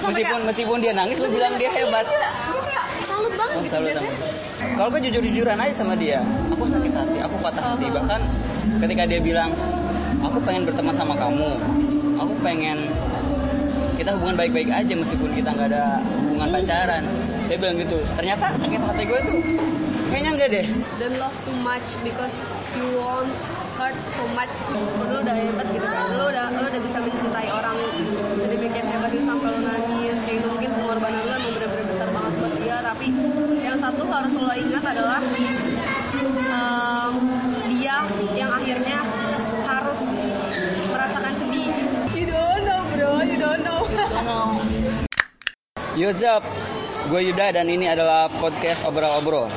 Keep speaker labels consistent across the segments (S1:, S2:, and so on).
S1: sampai
S2: meskipun
S1: kayak-
S2: meskipun dia nangis lu bilang dia
S1: Iya,
S2: hebat
S1: Gue gue kayak salut banget
S2: Oh,
S1: gitu
S2: salut
S1: biasanya.
S2: sama. Kalau gue jujur-jujuran aja sama dia, aku sakit hati, aku patah hati. Bahkan ketika dia bilang, aku pengen berteman sama kamu, aku pengen kita hubungan baik-baik aja meskipun kita nggak ada hubungan pacaran. Dia bilang gitu. Ternyata sakit hati gue tuh kayaknya enggak deh.
S3: don't love too much because you won't hurt so much lu udah hebat gitu kan lu udah lu udah bisa mencintai orang sedemikian hebat itu sampai lu nangis kayak gitu mungkin pengorbanan lu emang bener-bener besar banget buat dia tapi yang satu harus lo ingat adalah em, dia yang akhirnya harus merasakan sedih
S1: You don't know bro, you don't know.
S2: Yo up? Gue Yuda dan ini adalah podcast obrol-obrol.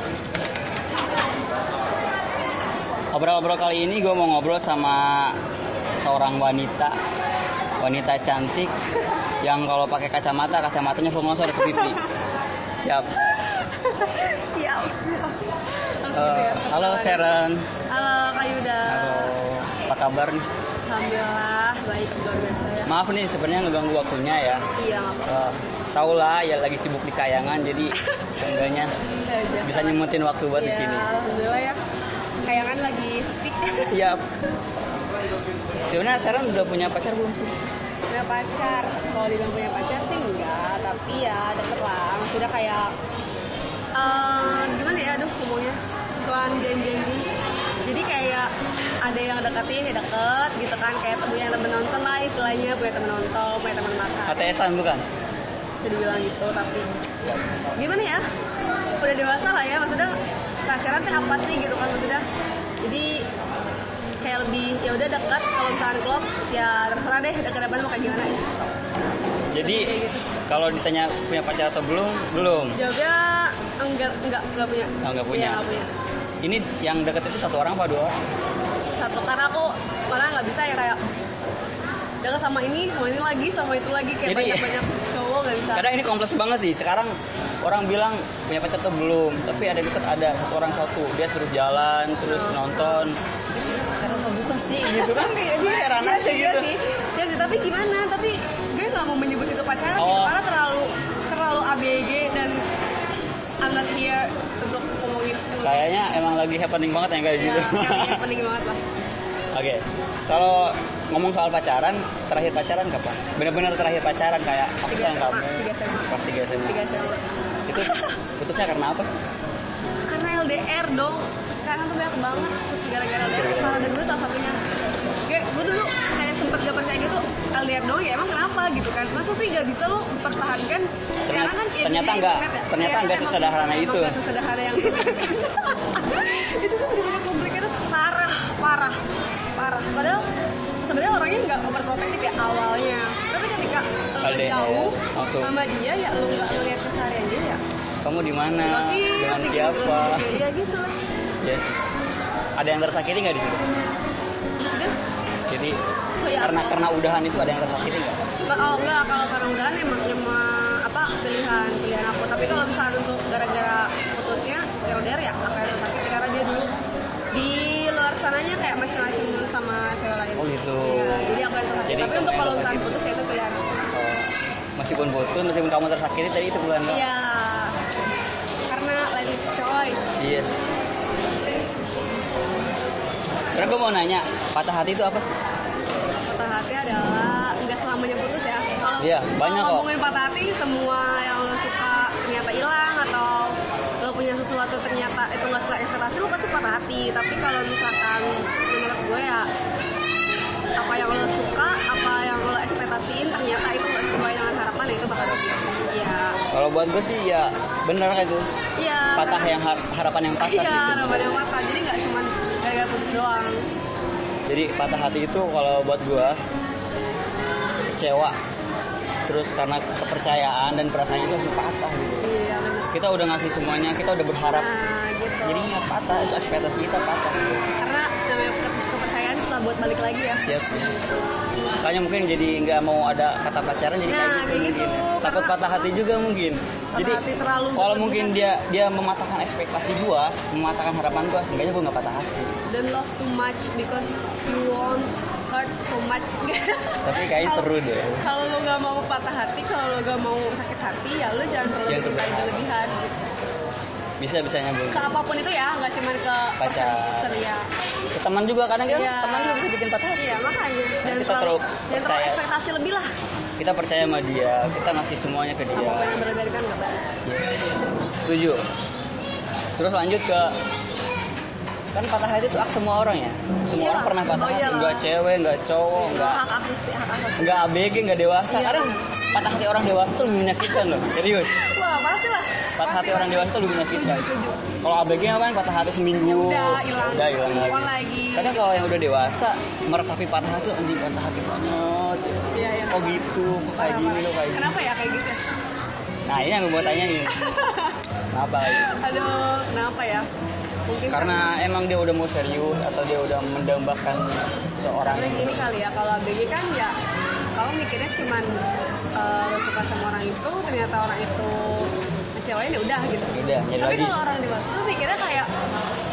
S2: Obrol-obrol kali ini gue mau ngobrol sama seorang wanita, wanita cantik yang kalau pakai kacamata kacamatanya full ngosor ke pipi. Siap.
S1: siap, siap.
S2: Eh, halo Sharon.
S3: halo Kak Yuda
S2: Halo. Apa kabar nih?
S3: Alhamdulillah baik luar biasa ya
S2: Maaf nih sebenarnya ngeganggu waktunya ya.
S3: iya nggak apa-apa
S2: Eh, tau lah ya lagi sibuk di kayangan jadi seenggaknya
S3: aja
S2: bisa nyempetin waktu buat di
S3: Ya,
S2: sini.
S3: Alhamdulillah ya. Kayangan lagi sepi.
S2: Siap. Sebenarnya Sharon udah punya pacar belum sih?
S3: punya pacar. Kalau dibilang punya pacar sih enggak, tapi ya deket lah. Maksudnya kayak eh gimana ya aduh ngomongnya soal janji-janji jadi kayak ada yang deketin ya deket gitu kan kayak punya temen nonton lah istilahnya punya temen nonton punya temen makan
S2: ATS-an bukan?
S3: bisa dibilang gitu tapi
S2: Siap.
S3: gimana ya udah dewasa lah ya maksudnya pacaran teh apa sih gitu kan maksudnya jadi kayak lebih ya udah dekat kalau misalkan klop ya terserah deh dekat depan mau kayak gimana ya
S2: Jadi kalau ditanya punya pacar atau belum, belum.
S3: jawabnya enggak enggak enggak punya
S2: Oh, enggak punya.
S3: Iya, enggak punya
S2: Ini yang deket itu satu orang apa dua orang?
S3: satu karena aku malah nggak bisa ya kayak dekat sama ini sama ini lagi sama itu lagi kayak
S2: Jadi-
S3: banyak banyak cowok nggak bisa
S2: Kadang ini kompleks banget sih. Sekarang orang bilang punya pacar atau belum, tapi ada deket ada satu orang satu. Dia terus jalan, terus
S3: Oh.
S2: nonton. Terus ini pacaran atau bukan sih? Gitu kan? Dia dia heran
S3: Iya
S2: aja
S3: sih, iya
S2: gitu.
S3: sih. Iya sih, tapi gimana? Tapi gue nggak mau menyebut itu pacaran gitu,
S2: Oh.
S3: karena terlalu terlalu ABG dan I'm not here untuk ngomongin itu.
S2: Kayaknya emang lagi happening banget yang kayak
S3: Ya,
S2: gitu.
S3: kayaknya penting banget lah.
S2: Oke, kalau ngomong soal pacaran, terakhir pacaran kapan? Bener-bener terakhir pacaran kayak aku
S3: Tiga
S2: sayang
S3: SMA,
S2: kamu.
S3: tiga SMA,
S2: Pas 3
S3: tiga
S2: SMA.
S3: SMA.
S2: Itu putusnya karena apa sih?
S3: Karena LDR dong. Sekarang tuh banyak banget terus gara-gara LDR. Salah dan gue salah satunya. Gue, gue dulu kayak sempet gak percaya gitu LDR dong ya emang kenapa gitu kan masa sih gak bisa lo pertahankan
S2: Ternyata-
S3: kan kayak
S2: ternyata
S3: dunia
S2: nggak-
S3: internet ya.
S2: ternyata
S3: Iya,
S2: nggak
S3: emang-
S2: sesederhana
S3: emang
S2: itu.
S3: nggak sesederhana yang itu tuh sebenarnya kompliknya tuh parah parah parah padahal sebenarnya orangnya nggak overprotective ya awalnya tapi ketika lo
S2: LDR,
S3: jauh
S2: langsung.
S3: sama dia ya lo nggak ngeliat keseharian dia ya
S2: Kamu di mana?
S3: Iya,
S2: Dengan
S3: gitu,
S2: siapa?
S3: gitu. Iya gitu lah.
S2: Yes. Ada yang tersakiti nggak di situ?
S3: Maksudnya,
S2: Jadi
S3: Oh, iya.
S2: karena karena udahan itu ada yang tersakiti nggak?
S3: oh enggak kalau karena udahan emang emang apa pilihan pilihan aku. Tapi kalau misalnya untuk gara-gara putusnya LDR ya akan sakit karena dia dulu di luar sananya kayak macam-macam sama cewek lain.
S2: Oh, gitu.
S3: Iya, jadi aku yang tersakiti.
S2: Jadi gitu.
S3: Tapi
S2: kamu
S3: untuk
S2: yang
S3: kalau
S2: tersakiti.
S3: misalnya putus ya itu pilihan. aku.
S2: Oh, meskipun putus, meskipun kamu tersakiti tadi itu bulan kamu.
S3: Iya. Karena ladies choice.
S2: Yes. Terus gue mau nanya, patah hati itu apa sih?
S3: patah hati adalah nggak selamanya putus ya kalau
S2: Iya,
S3: kalau
S2: banyak kok.
S3: ngomongin patah hati semua yang lo suka ternyata hilang atau lo punya sesuatu ternyata itu nggak sesuai ekspektasi lo pasti patah hati tapi kalau misalkan menurut gue ya apa yang lo suka apa yang lo ekspektasiin ternyata itu nggak sesuai dengan harapan ya itu bakal rugi ya
S2: Kalau buat gue sih ya bener itu
S3: iya
S2: patah
S3: karena-
S2: yang har- harapan yang patah
S3: iya
S2: sih sebenarnya.
S3: harapan yang patah jadi nggak cuma gara-gara putus doang
S2: Jadi patah hati itu kalau buat gua kecewa terus karena kepercayaan dan perasaan itu langsung patah gitu.
S3: iya benar
S2: Kita udah ngasih semuanya, kita udah berharap.
S3: nah gitu
S2: Jadi ya patah, itu ekspektasi kita patah.
S3: karena namanya ke- kepercayaan setelah buat balik lagi ya
S2: Siap sih. Makanya mungkin jadi nggak mau ada kata pacaran jadi
S3: Nah,
S2: kayak gitu
S3: kayak
S2: mungkin.
S3: gitu.
S2: Takut
S3: Karena-
S2: patah hati juga mungkin.
S3: Patah
S2: jadi
S3: hati kan? terlalu
S2: kalau
S3: berlebihan.
S2: mungkin dia dia mematahkan ekspektasi gua, mematahkan harapan gua, seenggaknya gua nggak patah hati.
S3: don't love too much because you won't hurt so much
S2: Tapi kayaknya seru deh.
S3: kalau lo nggak mau patah hati kalau lo nggak mau sakit hati ya lo jangan terlalu
S2: Jangan
S3: berlebihan
S2: terlalu
S3: berlebihan gitu.
S2: Bisa bisa nyambung.
S3: ke apapun itu ya nggak cuma ke
S2: Pacar.
S3: pacar ya
S2: Ke Teman juga kadang kan
S3: Iya.
S2: teman juga bisa bikin patah hati.
S3: iya makanya
S2: kita
S3: jangan terlalu
S2: terlalu
S3: jangan terlalu
S2: percaya.
S3: ekspektasi lebih lah
S2: Kita percaya sama dia, kita ngasih semuanya ke dia.
S3: apapun yang berbeda kan nggak baik
S2: Setuju. Terus lanjut ke kan patah hati itu hak semua orang ya. Semua
S3: Iya.
S2: orang pernah patah
S3: Oh,
S2: hati,
S3: iyalah.
S2: enggak cewek, enggak cowok, enggak
S3: hak aku sih hak aku
S2: enggak ABG, enggak dewasa.
S3: Iya.
S2: Kadang patah hati orang dewasa tuh lebih menyakitkan loh, serius.
S3: wah pasti lah
S2: Patah hati orang dewasa tuh lebih menyakitkan.
S3: Setuju.
S2: Kalau ABG apa kan patah hati seminggu.
S3: Ya udah, hilang.
S2: Udah hilang
S3: Move on
S2: lagi.
S3: lagi.
S2: Kadang kalau yang udah dewasa meresapi patah hati anjing patah hati banget.
S3: iya iya
S2: Oh gitu, kok kayak
S3: Parah,
S2: gini
S3: parah.
S2: loh kayak gini.
S3: kenapa ya kayak gitu ya
S2: Nah ini yang gue mau tanyain. Kenapa gitu?
S3: aduh kenapa ya mungkin
S2: Karena emang dia udah mau serius atau dia udah mendambakan seorang
S3: Karena gini kali ya, kalau ABG kan ya kalau mikirnya cuman eh, lo suka sama orang itu, ternyata orang itu ngecewain ya udah gitu.
S2: Udah, nyari
S3: Tapi
S2: lagi.
S3: kalau orang dewasa tuh mikirnya kayak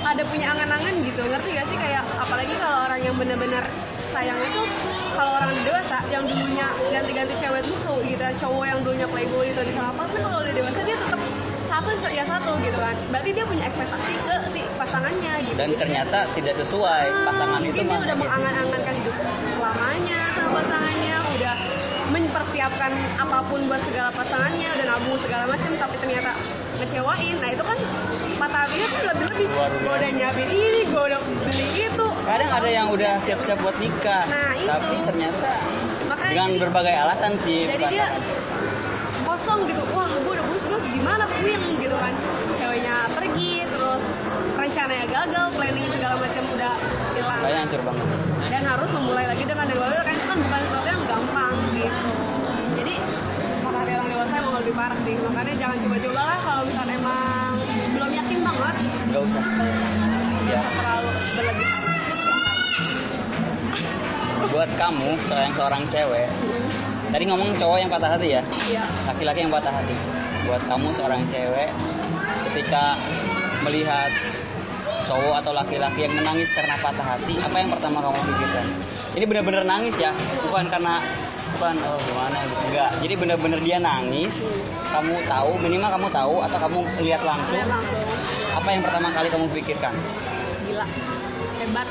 S3: ada punya angan-angan gitu, ngerti gak sih? Kayak apalagi kalau orang yang bener-bener sayang itu kalau orang dewasa yang dulunya ganti-ganti cewek dulu gitu, cowok yang dulunya playboy itu di apa tuh kalau udah dewasa dia tetap satu ya satu gitu kan. Berarti dia punya ekspektasi ke si pasangannya gitu.
S2: dan
S3: Jadi-
S2: ternyata tidak sesuai pasangan itu Gitu. mah.
S3: mungkin dia Hmm, udah mengangan-angankan hidup selamanya sama pasangannya udah mempersiapkan apapun buat segala pasangannya udah nabung segala macam tapi ternyata ngecewain nah itu kan patah hatinya kan lebih lebih
S2: Luar biasa.
S3: gue udah nyiapin ini gue udah beli itu
S2: Kadang ada yang udah siap-siap buat nikah,
S3: Nah, itu.
S2: tapi ternyata
S3: makanya
S2: dengan
S3: jadi-
S2: berbagai alasan sih.
S3: jadi
S2: bukan-
S3: dia kosong gitu wah gue udah putus gue gimana puyeng gitu kan ceweknya pergi terus rencananya gagal planning segala macam udah hilang
S2: Kayaknya hancur banget.
S3: dan harus memulai lagi dengan dewasa kan itu kan bukan sesuatu yang gampang gitu jadi patah hati orang dewasa emang lebih parah sih makanya jangan coba-coba lah kalau misalnya emang belum yakin banget
S2: Gak usah.
S3: nggak
S2: Siap.
S3: usah terlalu berlebihan
S2: Buat kamu, seorang seorang cewek,
S3: Hmm.
S2: tadi ngomong cowok yang patah hati ya,
S3: iya
S2: laki-laki yang patah hati. Buat kamu seorang cewek, ketika melihat cowok atau laki-laki yang menangis karena patah hati, apa yang pertama kamu pikirkan? Ini benar-benar nangis ya, bukan karena bukan oh gimana gitu. Enggak. Jadi benar-benar dia nangis, kamu tahu, minimal kamu tahu atau kamu lihat langsung,
S3: saya langsung
S2: apa yang pertama kali kamu pikirkan?
S3: gila hebat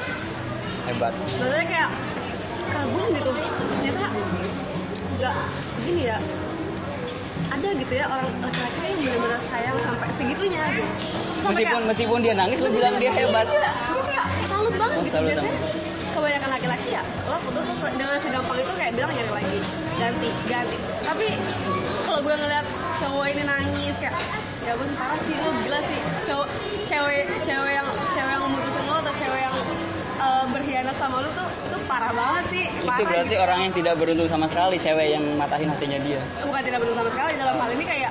S2: Hebat.
S3: maksudnya kayak kagum gitu ternyata nggak gini ya ada gitu ya orang laki-laki yang benar-benar sayang sampai segitunya gitu. Sampai kayak-
S2: Meskipun meskipun dia nangis, lu bilang dia hebat.
S3: Iya, gue kayak salut banget
S2: Oh,
S3: gitu.
S2: salut
S3: Biasanya kebanyakan laki-laki ya, lo putus terus dengan segampang itu kayak bilang nyari lagi, ganti, ganti. Tapi kalau gue ngeliat cowok ini nangis kayak, ya gue parah sih lo gila sih. Cowok, cewek, cewek yang cewek yang memutusin lo atau cewek yang eh, berkhianat sama lo tuh itu parah banget sih. Parah
S2: Itu berarti
S3: gitu.
S2: orang yang tidak beruntung sama sekali, cewek yang matahin hatinya dia.
S3: bukan tidak benar sama sekali dalam hal ini kayak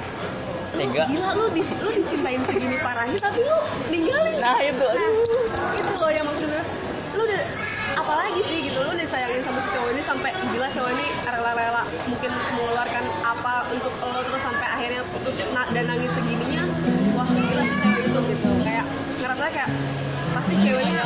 S3: lu
S2: Tega.
S3: gila lu di, lu dicintain segini parahnya tapi lu ninggalin
S2: Nah, itu.
S3: itu gitu. loh yang maksudnya lu udah apalagi sih gitu lu disayangin sama si cowok ini sampai gila cowok ini rela-rela mungkin mengeluarkan apa untuk lo terus sampai akhirnya putus na- dan nangis segininya wah gila sih cewek itu gitu kayak ngerasa kayak pasti ceweknya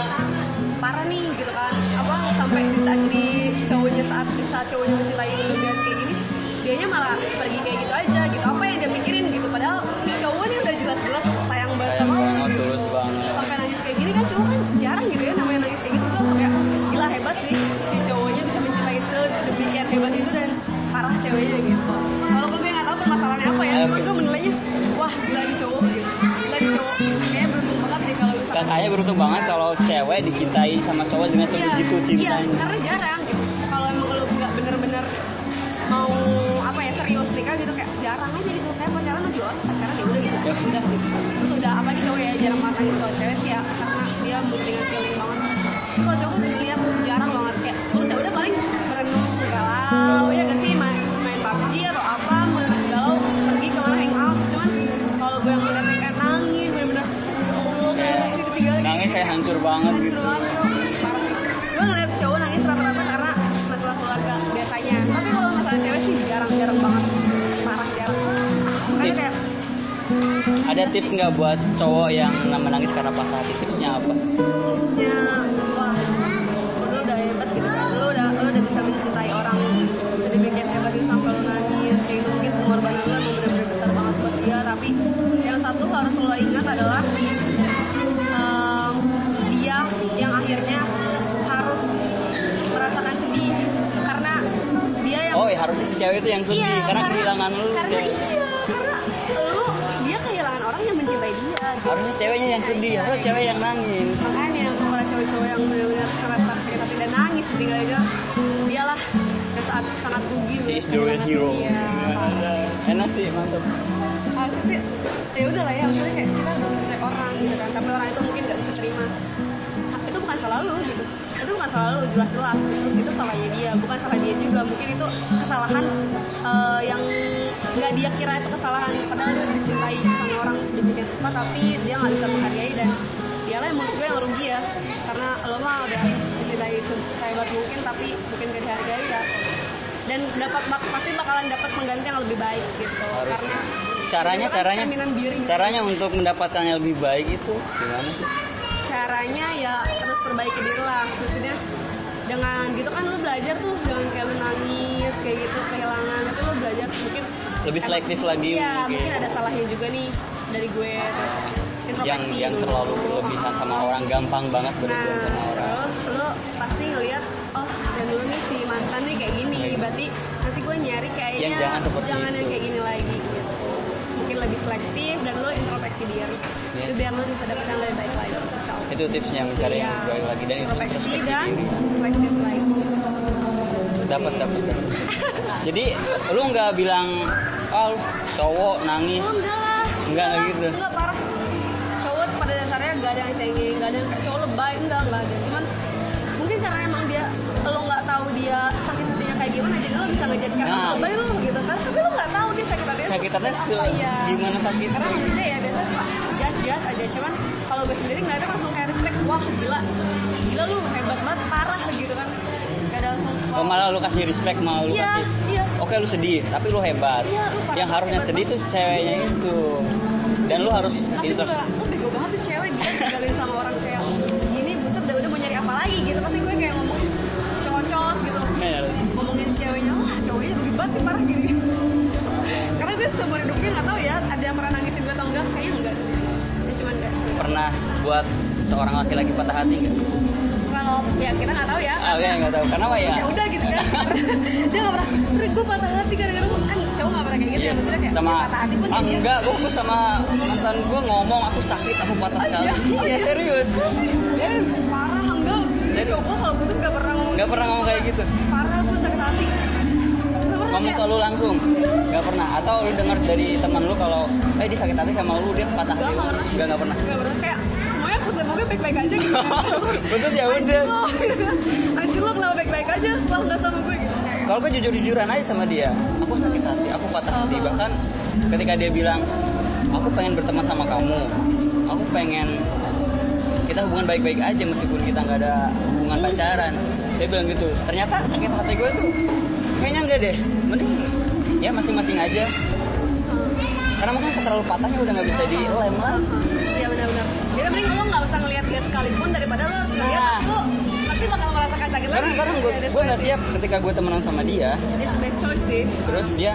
S3: parah nih gitu kan apa sampai di saat di cowoknya saat di saat cowoknya mencintai lu dan kayak gini dianya malah pergi kayak gitu aja gitu apa yang dia pikirin gitu padahal ini cowok nih udah jelas-jelas sayang banget
S2: Sayang
S3: sama lu
S2: banget,
S3: gitu
S2: tulus banget.
S3: sampai nangis kayak gini kan cowok kan jarang gitu ya namanya nangis kayak gitu tuh langsung kayak gila hebat sih si cowoknya bisa mencintai sedemikian hebat itu dan parah ceweknya gitu walaupun gue nggak tahu permasalahannya apa ya
S2: Ayo,
S3: cuma
S2: Fit.
S3: gue menilainya wah gila di cowok gitu gila di cowok kayaknya beruntung banget deh kalau misalkan
S2: Kakaknya beruntung banget kalau cewek dicintai sama cowok dengan
S3: Iya,
S2: sebegitu
S3: iya,
S2: cintanya.
S3: karena jarang gitu kalau emang lo nggak bener-bener mau apa ya serius nikah gitu kayak jarang aja gitu kayak pacaran lo jual pacaran ya udah gitu
S2: Ya.
S3: udah gitu terus udah apalagi cowok ya jarang makan di soal cewek sih ya karena dia mendingan feeling banget Tapi kalau cowok tuh lihat jarang banget kayak terus ya udah paling merenung galau ya gak sih main, main PUBG atau apa merenung galau pergi kemana hangout cuman kalau gue yang ngeliatnya kayak nangis bener-bener oh, kayak gitu tinggalin
S2: Iya. Nangis ya? kayak hancur banget
S3: Hancur
S2: gitu.
S3: banget bro. Parah sih. Gue ngeliat cowok nangis rata-rata karena masalah keluarga biasanya. Tapi kalau masalah cewek sih jarang-jarang banget. Parah jarang. Makanya
S2: Tips.
S3: kayak
S2: Ada tips nggak buat cowok yang menangis karena
S3: Iya.
S2: patah hati? Tipsnya apa?
S3: tipsnya wah lu udah hebat gitu kan. Lu udah bisa mencintai orang sedemikian hebat itu sampai lo nangis kayak gitu mungkin pengorbanan lo emang bener-bener besar banget buat dia tapi yang satu harus lo ingat adalah em, dia yang akhirnya harus merasakan sedih karena dia yang
S2: Oh ya harusnya si cewek itu yang sedih
S3: Iya,
S2: karena, kehilangan lu.
S3: karena
S2: kayak-
S3: iya karena lu dia kehilangan orang yang mencintai dia gitu.
S2: Harusnya ceweknya yang sedih, harusnya cewek yang nangis.
S3: makanya kepala cewek-cewek yang benar-benar ngerasa sakit tapi dan nangis ketika itu dialah yang saat sangat rugi loh
S2: He's the real hero.
S3: iya
S2: Enak sih, mantap.
S3: harusnya sih ya udah lah ya maksudnya kayak kita udah mencintai orang gitu kan tapi orang itu mungkin nggak bisa terima Ha- itu bukan salah lu gitu itu bukan salah lu jelas-jelas itu, itu salahnya dia bukan salah dia juga mungkin itu kesalahan eh, yang nggak dia kira itu kesalahan padahal dia dicintai sama orang sedemikian rupa tapi dia nggak bisa menghargai dan dialah yang menurut gue yang rugi ya karena lo mah udah mencintai sehebat mungkin tapi mungkin gak dihargai ya dan dapat bak- pasti bakalan dapat pengganti yang lebih baik gitu
S2: Harus.
S3: karena
S2: Caranya,
S3: itu kan
S2: caranya,
S3: cerminan diri.
S2: caranya untuk mendapatkan yang lebih baik itu gimana sih?
S3: caranya ya terus perbaiki diri lah maksudnya dengan gitu kan lo belajar tuh jangan kayak lo nangis kayak gitu kehilangan itu lo belajar mungkin
S2: Lebih selektif lagi
S3: iya
S2: mungkin.
S3: mungkin ada salahnya juga nih dari gue terus
S2: yang
S3: introspeksi
S2: yang
S3: dulu.
S2: terlalu berlebihan sama orang gampang banget
S3: nah
S2: berlebihan sama orang.
S3: terus lo pasti ngeliat oh dan dulu nih si mantan nih kayak gini
S2: Baik.
S3: berarti nanti gue nyari kayaknya
S2: Iya. Yang jangan seperti
S3: jangan yang
S2: itu.
S3: kayak gini lagi gitu mungkin lebih selektif dan lo introspeksi diri
S2: Yes.
S3: itu biar lo bisa dapat yang lebih baik lagi insya Allah
S2: Itu tipsnya mencari yang
S3: Iya.
S2: lebih baik lagi dan itu terus
S3: Introspeksi dan
S2: diri.
S3: reflektif lagi
S2: Dapat dapat. Jadi lu nggak bilang oh cowok nangis.
S3: Oh, enggak lah
S2: Enggak, enggak
S3: lah.
S2: gitu.
S3: enggak parah cowok pada dasarnya enggak ada yang cengeng enggak ada yang kayak cowok lebay enggak enggak ada cuman mungkin karena emang dia lo nggak tahu dia sakit hatinya kayak gimana jadi lo bisa ngejudge kayak
S2: Nah.
S3: "Ah, lebay lo gitu kan tapi lo nggak tahu dia sakit hatinya tuh
S2: Sakitannya
S3: apa
S2: se-
S3: ya.
S2: segimana sakitnya.
S3: karena manusia ya biasanya suka jas jas aja cuman kalau gue sendiri ngeliatnya langsung kayak respect wah gila gila lu hebat banget parah gitu kan gak ada langsung
S2: Oh, malah lu kasih respect malah lu
S3: iya
S2: kasih.
S3: iya
S2: Oke lu sedih, tapi lu hebat.
S3: Iya, lu parah.
S2: yang harusnya
S3: Hebat
S2: sedih tuh ceweknya itu. Dan lu harus
S3: tapi juga
S2: intros.
S3: lu bego banget tuh cewek dia ditinggalin sama orang kayak gini buset udah udah mau nyari apa lagi gitu pasti gue kayak ngomong cocos gitu
S2: Bener.
S3: ngomongin si ceweknya wah cowoknya rugi banget nih parah gini karena gue seumur hidup gue nggak tahu ya ada yang pernah nangisin gue atau enggak kayaknya enggak ya cuman kayak
S2: Pernah buat seorang laki-laki patah hati nggak?
S3: kalau ya kita nggak tahu ya
S2: Ah, oke, nggak tahu. Kenapa ya?
S3: ya udah gitu kan dia nggak pernah terus gue patah hati gara-gara gue kan cowok nggak pernah kayak gitu
S2: Iya,
S3: ya maksudnya kayak
S2: sama
S3: dia patah hati
S2: ah,
S3: pun kayak gitu." dia.
S2: enggak, gue gue sama mantan gue ngomong aku sakit, aku patah sekali.
S3: Oh,
S2: Iya serius,
S3: Eh, parah enggak
S2: Jadi-
S3: cowok kalau putus nggak pernah ngomong
S2: nggak pernah ngomong kayak gitu.
S3: parah gue sakit hati
S2: Ngomong ke lu langsung, nggak pernah. Atau lu dengar dari teman lu kalau, eh dia sakit hati sama lu dia patah hati.
S3: Nggak, nggak pernah.
S2: Nggak nggak pernah.
S3: Gak pernah kayak semuanya aku sama gue baik-baik aja gitu
S2: Betul ya udah.
S3: Lo, gitu. Anjir lo kenapa baik-baik aja setelah nggak sama gue gitu
S2: Kalau gue jujur-jujuran aja sama dia, aku sakit hati, aku patah hati.
S3: Oh.
S2: Bahkan ketika dia bilang, aku pengen berteman sama kamu, aku pengen kita hubungan baik-baik aja meskipun kita nggak ada hubungan pacaran. Dia bilang gitu. Ternyata sakit hati gue tuh kayaknya enggak deh. Mending ya masing-masing aja. Karena mungkin terlalu patahnya udah nggak bisa dilem lah.
S3: Iya benar-benar Jadi mending lo nggak usah ngeliat dia sekalipun daripada lo harus ngeliat
S2: Nah.
S3: tapi lo pasti bakal merasakan sakit lagi
S2: Karena kadang gue gue nggak siap ketika gue temenan sama dia,
S3: It's best choice sih
S2: terus dia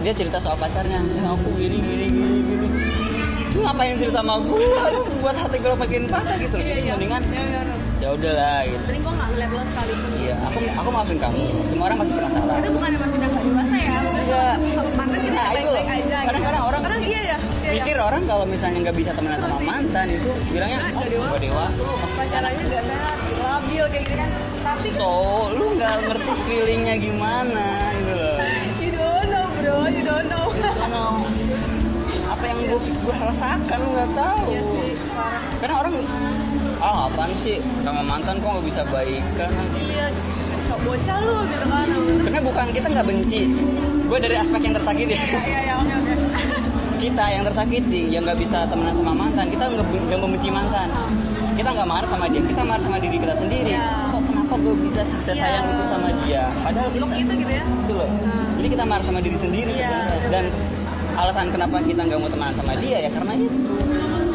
S2: dia cerita soal pacarnya "Ya, aku gini gini gini gini lu ngapain cerita sama gue lu buat hati gue makin patah gitu loh jadi mendingan
S3: Iya, iya, iya.
S2: ya udahlah gitu
S3: Mending gue nggak ngeliat lo sekalipun
S2: iya aku aku maafin kamu semua orang masih pernah salah
S3: itu bukan yang masih nggak dewasa ya maksudnya
S2: Iya.
S3: sama mantan kita
S2: Nah, itu
S3: baik-baik
S2: loh.
S3: aja gitu.
S2: Kadang-kadang orang-
S3: kadang iya ya iya,
S2: pikir orang kalau misalnya nggak bisa temenan sama mantan itu bilangnya
S3: Nah,
S2: oh
S3: nggak dewasa.
S2: gue dewasa lu masih
S3: pacarannya nggak sehat labil kayak gitu kan tapi kan
S2: so lu nggak ngerti feelingnya gimana gitu loh
S1: You don't know, bro. You don't know.
S2: Karena apa yang gue gue rasakan lu nggak tahu
S3: Iya sih, parah.
S2: karena orang ah apaan sih sama mantan kok nggak bisa baikan
S3: iya cowok bocah lu gitu kan
S2: sebenarnya bukan kita nggak benci gue dari aspek yang tersakiti
S3: iya iya oke oke
S2: kita yang tersakiti yang nggak bisa temenan sama mantan kita nggak nggak membenci mantan kita nggak marah sama dia kita marah sama diri kita sendiri
S3: Iya.
S2: kok kenapa gue bisa sukses
S3: Iya.
S2: sayang itu sama dia padahal kita
S3: Blok gitu gitu ya
S2: gitu loh
S3: Nah.
S2: jadi kita marah sama diri sendiri
S3: Iya,
S2: sebenarnya dan alasan kenapa kita nggak mau temenan sama dia ya karena itu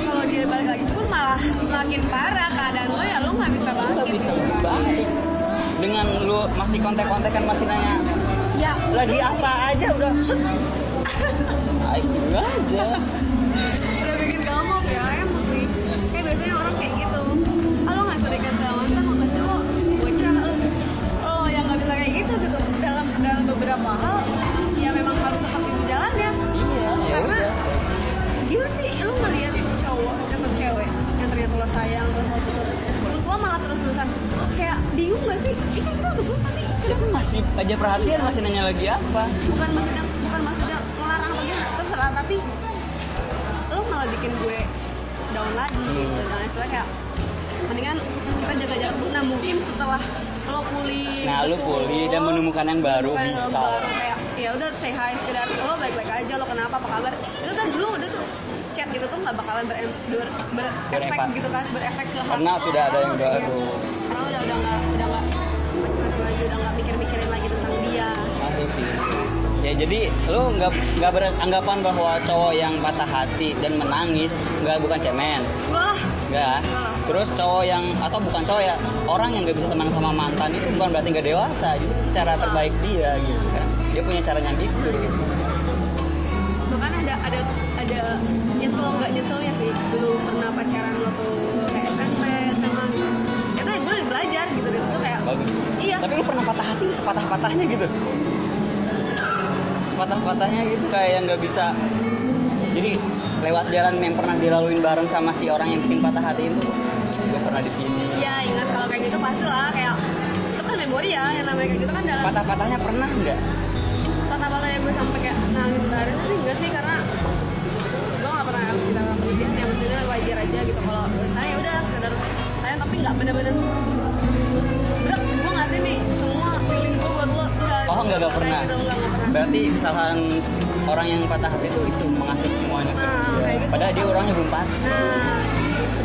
S3: kalau dia balik lagi tuh malah makin parah keadaan lo ya lo nggak bisa
S2: lu
S3: bangkit
S2: nggak bisa
S3: gitu kan.
S2: balik dengan lu masih kontak-kontakan masih nanya
S3: ya
S2: lagi apa aja udah set Ayo aja
S3: udah bikin gamuk ya emang sih kayak biasanya orang kayak gitu ah lo nggak suka sama mantan makanya lo bocah lo lo yang nggak bisa kayak gitu gitu dalam dalam beberapa hal ya memang harus seperti itu jalannya
S2: iya ya
S3: karena
S2: udah
S3: gimana sih lo ngeliat cowok atau cewek yang ternyata lo sayang terus lo putus terus lo malah terus terusan kayak bingung gak sih ini kan kita udah putus tapi
S2: Tapi masih aja perhatian masih nanya lagi apa
S3: bukan maksudnya bukan maksudnya ngelarang atau gimana terserah tapi lo malah bikin gue down lagi gitu
S2: Hmm.
S3: dan istilahnya kayak mendingan kita jaga jarak dulu nah mungkin setelah lo pulih
S2: Nah, lo
S3: betul,
S2: pulih dan menemukan yang baru,
S3: menemukan yang
S2: bisa.
S3: baru, kayak ya udah say hi sekedar lo baik baik aja lo kenapa apa kabar itu kan dulu udah tuh chat gitu tuh nggak bakalan ber, ber, berefek
S2: Berefek.
S3: gitu kan berefek ke hati.
S2: Karena sudah ada yang
S3: Iya.
S2: baru.
S3: karena udah udah nggak udah nggak macam-macam lagi udah nggak mikir mikirin lagi tentang dia
S2: masuk sih ya jadi lu nggak nggak beranggapan bahwa cowok yang patah hati dan menangis nggak bukan cemen
S3: Wah,
S2: nggak terus cowok yang atau bukan cowok ya orang yang nggak bisa tenang sama mantan itu bukan berarti nggak dewasa itu cara terbaik dia gitu kan dia punya caranya gitu gitu
S3: bahkan ada ada ada nyesel nggak nyesel ya sih dulu pernah pacaran waktu kayak SMP sama gitu. karena gue udah belajar gitu dan itu kayak
S2: bagus
S3: Iya.
S2: tapi lu pernah patah hati sepatah patahnya gitu sepatah patahnya gitu kayak yang nggak bisa jadi lewat jalan yang pernah dilaluin bareng sama si orang yang bikin patah hati itu gue pernah di sini
S3: ya ingat kalau kayak gitu pasti lah kayak itu kan memori ya yang namanya kayak gitu kan dalam
S2: patah-patahnya pernah nggak
S3: patah-patah yang gue sampai kayak nangis sehari sih enggak sih karena gue nggak pernah kita nggak putus ya maksudnya wajar aja gitu kalau gue saya udah sekedar saya tapi nggak bener-bener berat gue ngasih nih semua feeling gue buat lo enggak
S2: oh nggak nggak pernah
S3: Gitu, enggak, enggak pernah
S2: berarti kesalahan orang yang patah hati itu itu mengasih semuanya ke
S3: Nah,
S2: dia.
S3: kayak gitu.
S2: padahal dia orangnya belum pas
S3: Nah,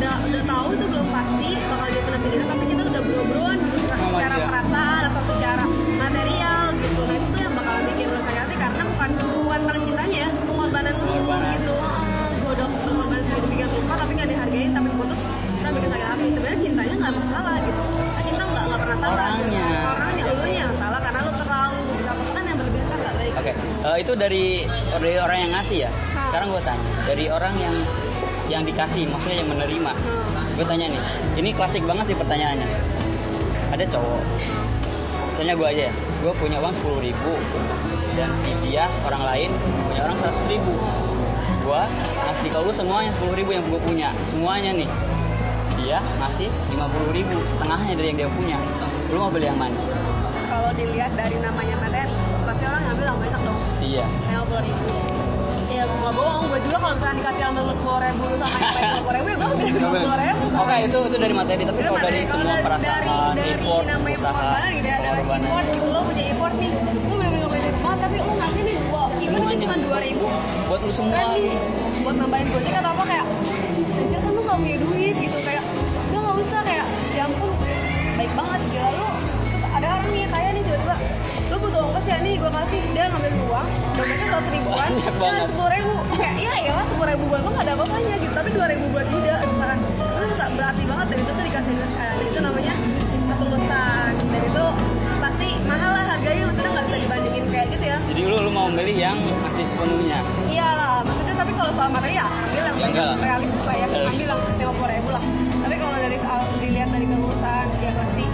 S3: udah udah tahu itu belum pasti bakal dia pernah pilihan gitu, tapi kita udah bro-broan gitu secara
S2: Sama
S3: secara
S2: dia.
S3: perasaan atau secara material gitu. Nah, itu tuh yang bakal bikin lo sakit hati karena bukan bukan tentang cintanya ya, pengorbanan lu
S2: Pengorbanan.
S3: gitu. Eh, Gue udah pengorbanan segitu bikin lupa tapi nggak dihargain tapi putus kita bikin sakit hati. Sebenarnya cintanya nggak masalah gitu. Nah, cinta nggak nggak pernah salah.
S2: Orangnya.
S3: Orangnya lu yang salah karena lu terlalu mendapatkan yang berlebihan kan nggak baik.
S2: oke eh, itu dari dari orang yang ngasih ya sekarang gue tanya dari orang yang yang dikasih maksudnya yang menerima
S3: Hmm.
S2: gue tanya nih ini klasik banget sih pertanyaannya ada cowok misalnya gue aja ya gue punya uang sepuluh ribu dan si dia orang lain punya orang seratus ribu gue ngasih ke lu semuanya sepuluh ribu yang gue punya semuanya nih dia ngasih lima puluh ribu setengahnya dari yang dia punya lu mau beli yang mana
S3: Nah, Kalau dilihat dari namanya Meten, pasti orang ngambil yang banyak dong.
S2: iya
S3: yang puluh ribu ya gue nggak bohong gue juga kalau misalnya dikasih sama lu sepuluh ribu sama yang sepuluh ribu ya gue ambil lima puluh ribu
S2: Oke Oh, itu itu dari materi tapi kalau dari semua perasaan
S3: dari,
S2: effort
S3: namanya
S2: usaha
S3: pengorbanan gitu ya ada
S2: pengorbanan
S3: effort gitu lo punya effort nih lo bener-bener nggak punya duit banget tapi lo ngasih nih wow even itu
S2: Semuanya.
S3: cuma dua ribu
S2: buat lu
S3: kan
S2: gitu semua
S3: nih buat nambahin gojek atau apa kayak aja kan lo nggak punya duit gitu kayak lo nggak usah kayak ya ampun baik banget gila lo terus ada orang nih saya nih tiba-tiba lo butuh ongkos ya nih gue kasih dia ngambil uang dompetnya seratus ribuan
S2: Banyak banget.
S3: sepuluh ribu kayak iya ya lah sepuluh ribu buat lo nggak ada apa-apanya gitu tapi dua ribu buat dia misalkan lo bisa berarti banget dan itu tuh dikasih eh, itu namanya ketulusan dan itu pasti mahal lah harganya maksudnya nggak bisa dibandingin kayak gitu ya
S2: jadi lu lu mau beli yang masih sepenuhnya
S3: Iyalah, maksudnya tapi kalau soal material, ambil yang
S2: Ya, enggak lah.
S3: realistis lah ya,
S2: Realistis.
S3: ambil yang lima puluh ribu lah. Tapi kalau dari soal dilihat dari kelulusan, ya pasti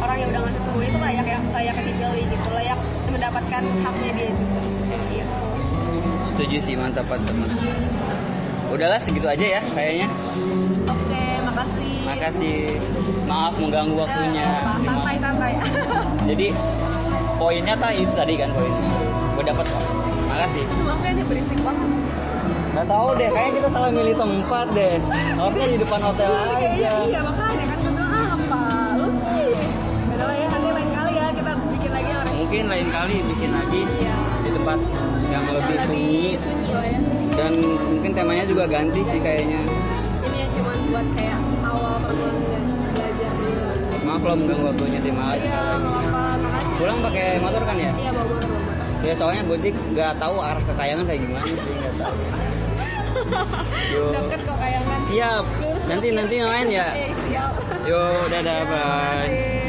S3: orang yang udah ngasih sepuluh itu layak ya, layak digali gitu, layak mendapatkan haknya dia juga. Iya.
S2: setuju sih mantap teman udahlah segitu aja ya kayaknya
S3: Oke, makasih. Ya,
S2: makasih maaf mengganggu waktunya
S3: Santai, santai.
S2: jadi poinnya tadi itu tadi kan poinnya gue dapat kok makasih
S3: Maaf ya, ini berisik banget.
S2: nggak tahu deh kayaknya kita salah milih tempat deh harusnya di depan hotel
S3: Iya,
S2: aja
S3: iya, makanya kan gue bilang apa? Lu sih. Beda ya, nanti lain kali ya kita bikin lagi yang
S2: mungkin lain kali bikin lagi
S3: Iya.
S2: di tempat yang lebih sunyi
S3: sunyi lah ya.
S2: dan mungkin temanya juga ganti sih kayaknya
S3: ini yang cuma buat kayak awal permulaan belajar dulu
S2: maaf kalau mengganggu waktunya terima kasih
S3: iya mau apa makasih
S2: pulang pakai motor kan ya
S3: iya bawa bawa bawa
S2: ya soalnya gojek nggak tahu arah kekayangan kayak gimana sih nggak tahu Yuk.
S3: deket kok kayangan
S2: siap nanti nanti main ya
S3: Oke, siap
S2: yo dadah bye
S3: Makasih.